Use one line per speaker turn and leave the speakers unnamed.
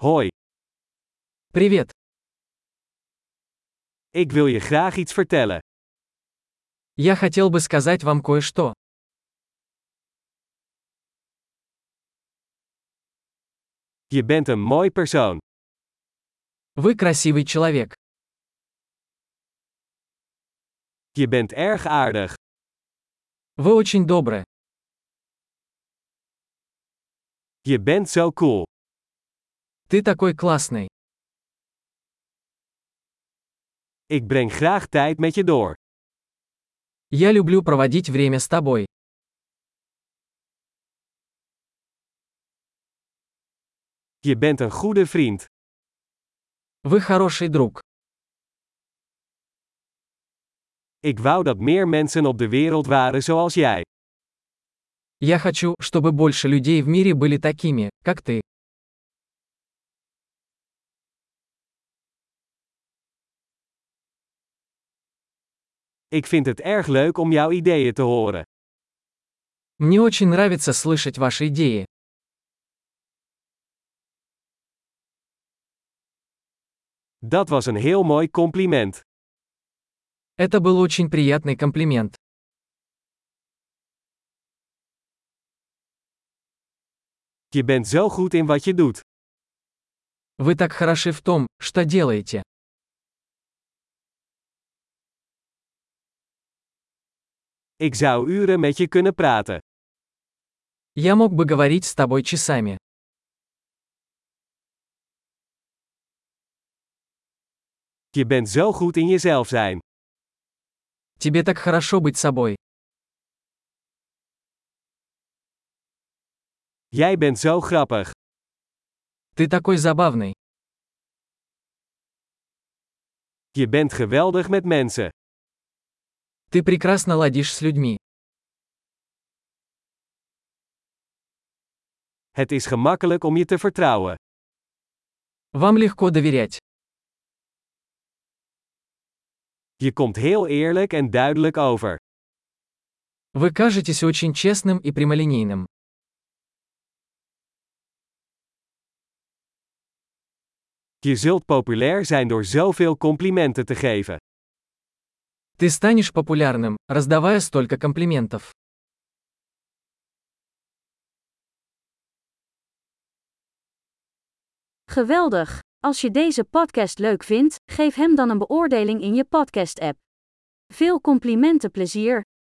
Hoi,
Привет.
ik wil je graag iets vertellen.
Я хотел бы сказать вам кое-что.
Je bent een mooi persoon.
Вы красивый человек.
Je bent erg aardig.
Вы очень добры.
Je bent zo cool.
Ты такой классный.
Ik breng graag tijd met je door.
Я люблю проводить время с тобой.
Je bent een goede vriend.
Вы хороший друг.
Ik wou dat meer mensen op de wereld waren zoals jij.
Я хочу, чтобы больше людей в мире были такими, как ты.
Ik vind het erg leuk om jouw ideeën te horen.
Мне очень нравится слышать ваши идеи.
Dat was een heel mooi compliment.
Это был очень приятный комплимент.
Je bent zo goed in wat je doet.
Вы так хороши в том, что делаете.
Ik zou uren met je kunnen praten.
Я мог бы говорить с тобой часами.
Je bent zo goed in jezelf zijn.
Тебе так хорошо быть собой.
Jij bent zo grappig.
Ты такой забавный.
Je bent geweldig met mensen.
Ты прекрасно ладишь с людьми.
Het is gemakkelijk om je te vertrouwen.
Вам легко доверять.
Je komt heel eerlijk en duidelijk over.
Вы кажетесь очень честным и прямолинейным.
Je zult populair zijn door zoveel complimenten te geven.
Ты станешь популярным, раздавая столько комплиментов.
Geweldig! Als je deze podcast leuk vindt, geef hem dan een beoordeling in je podcast-app. Veel complimenten plezier!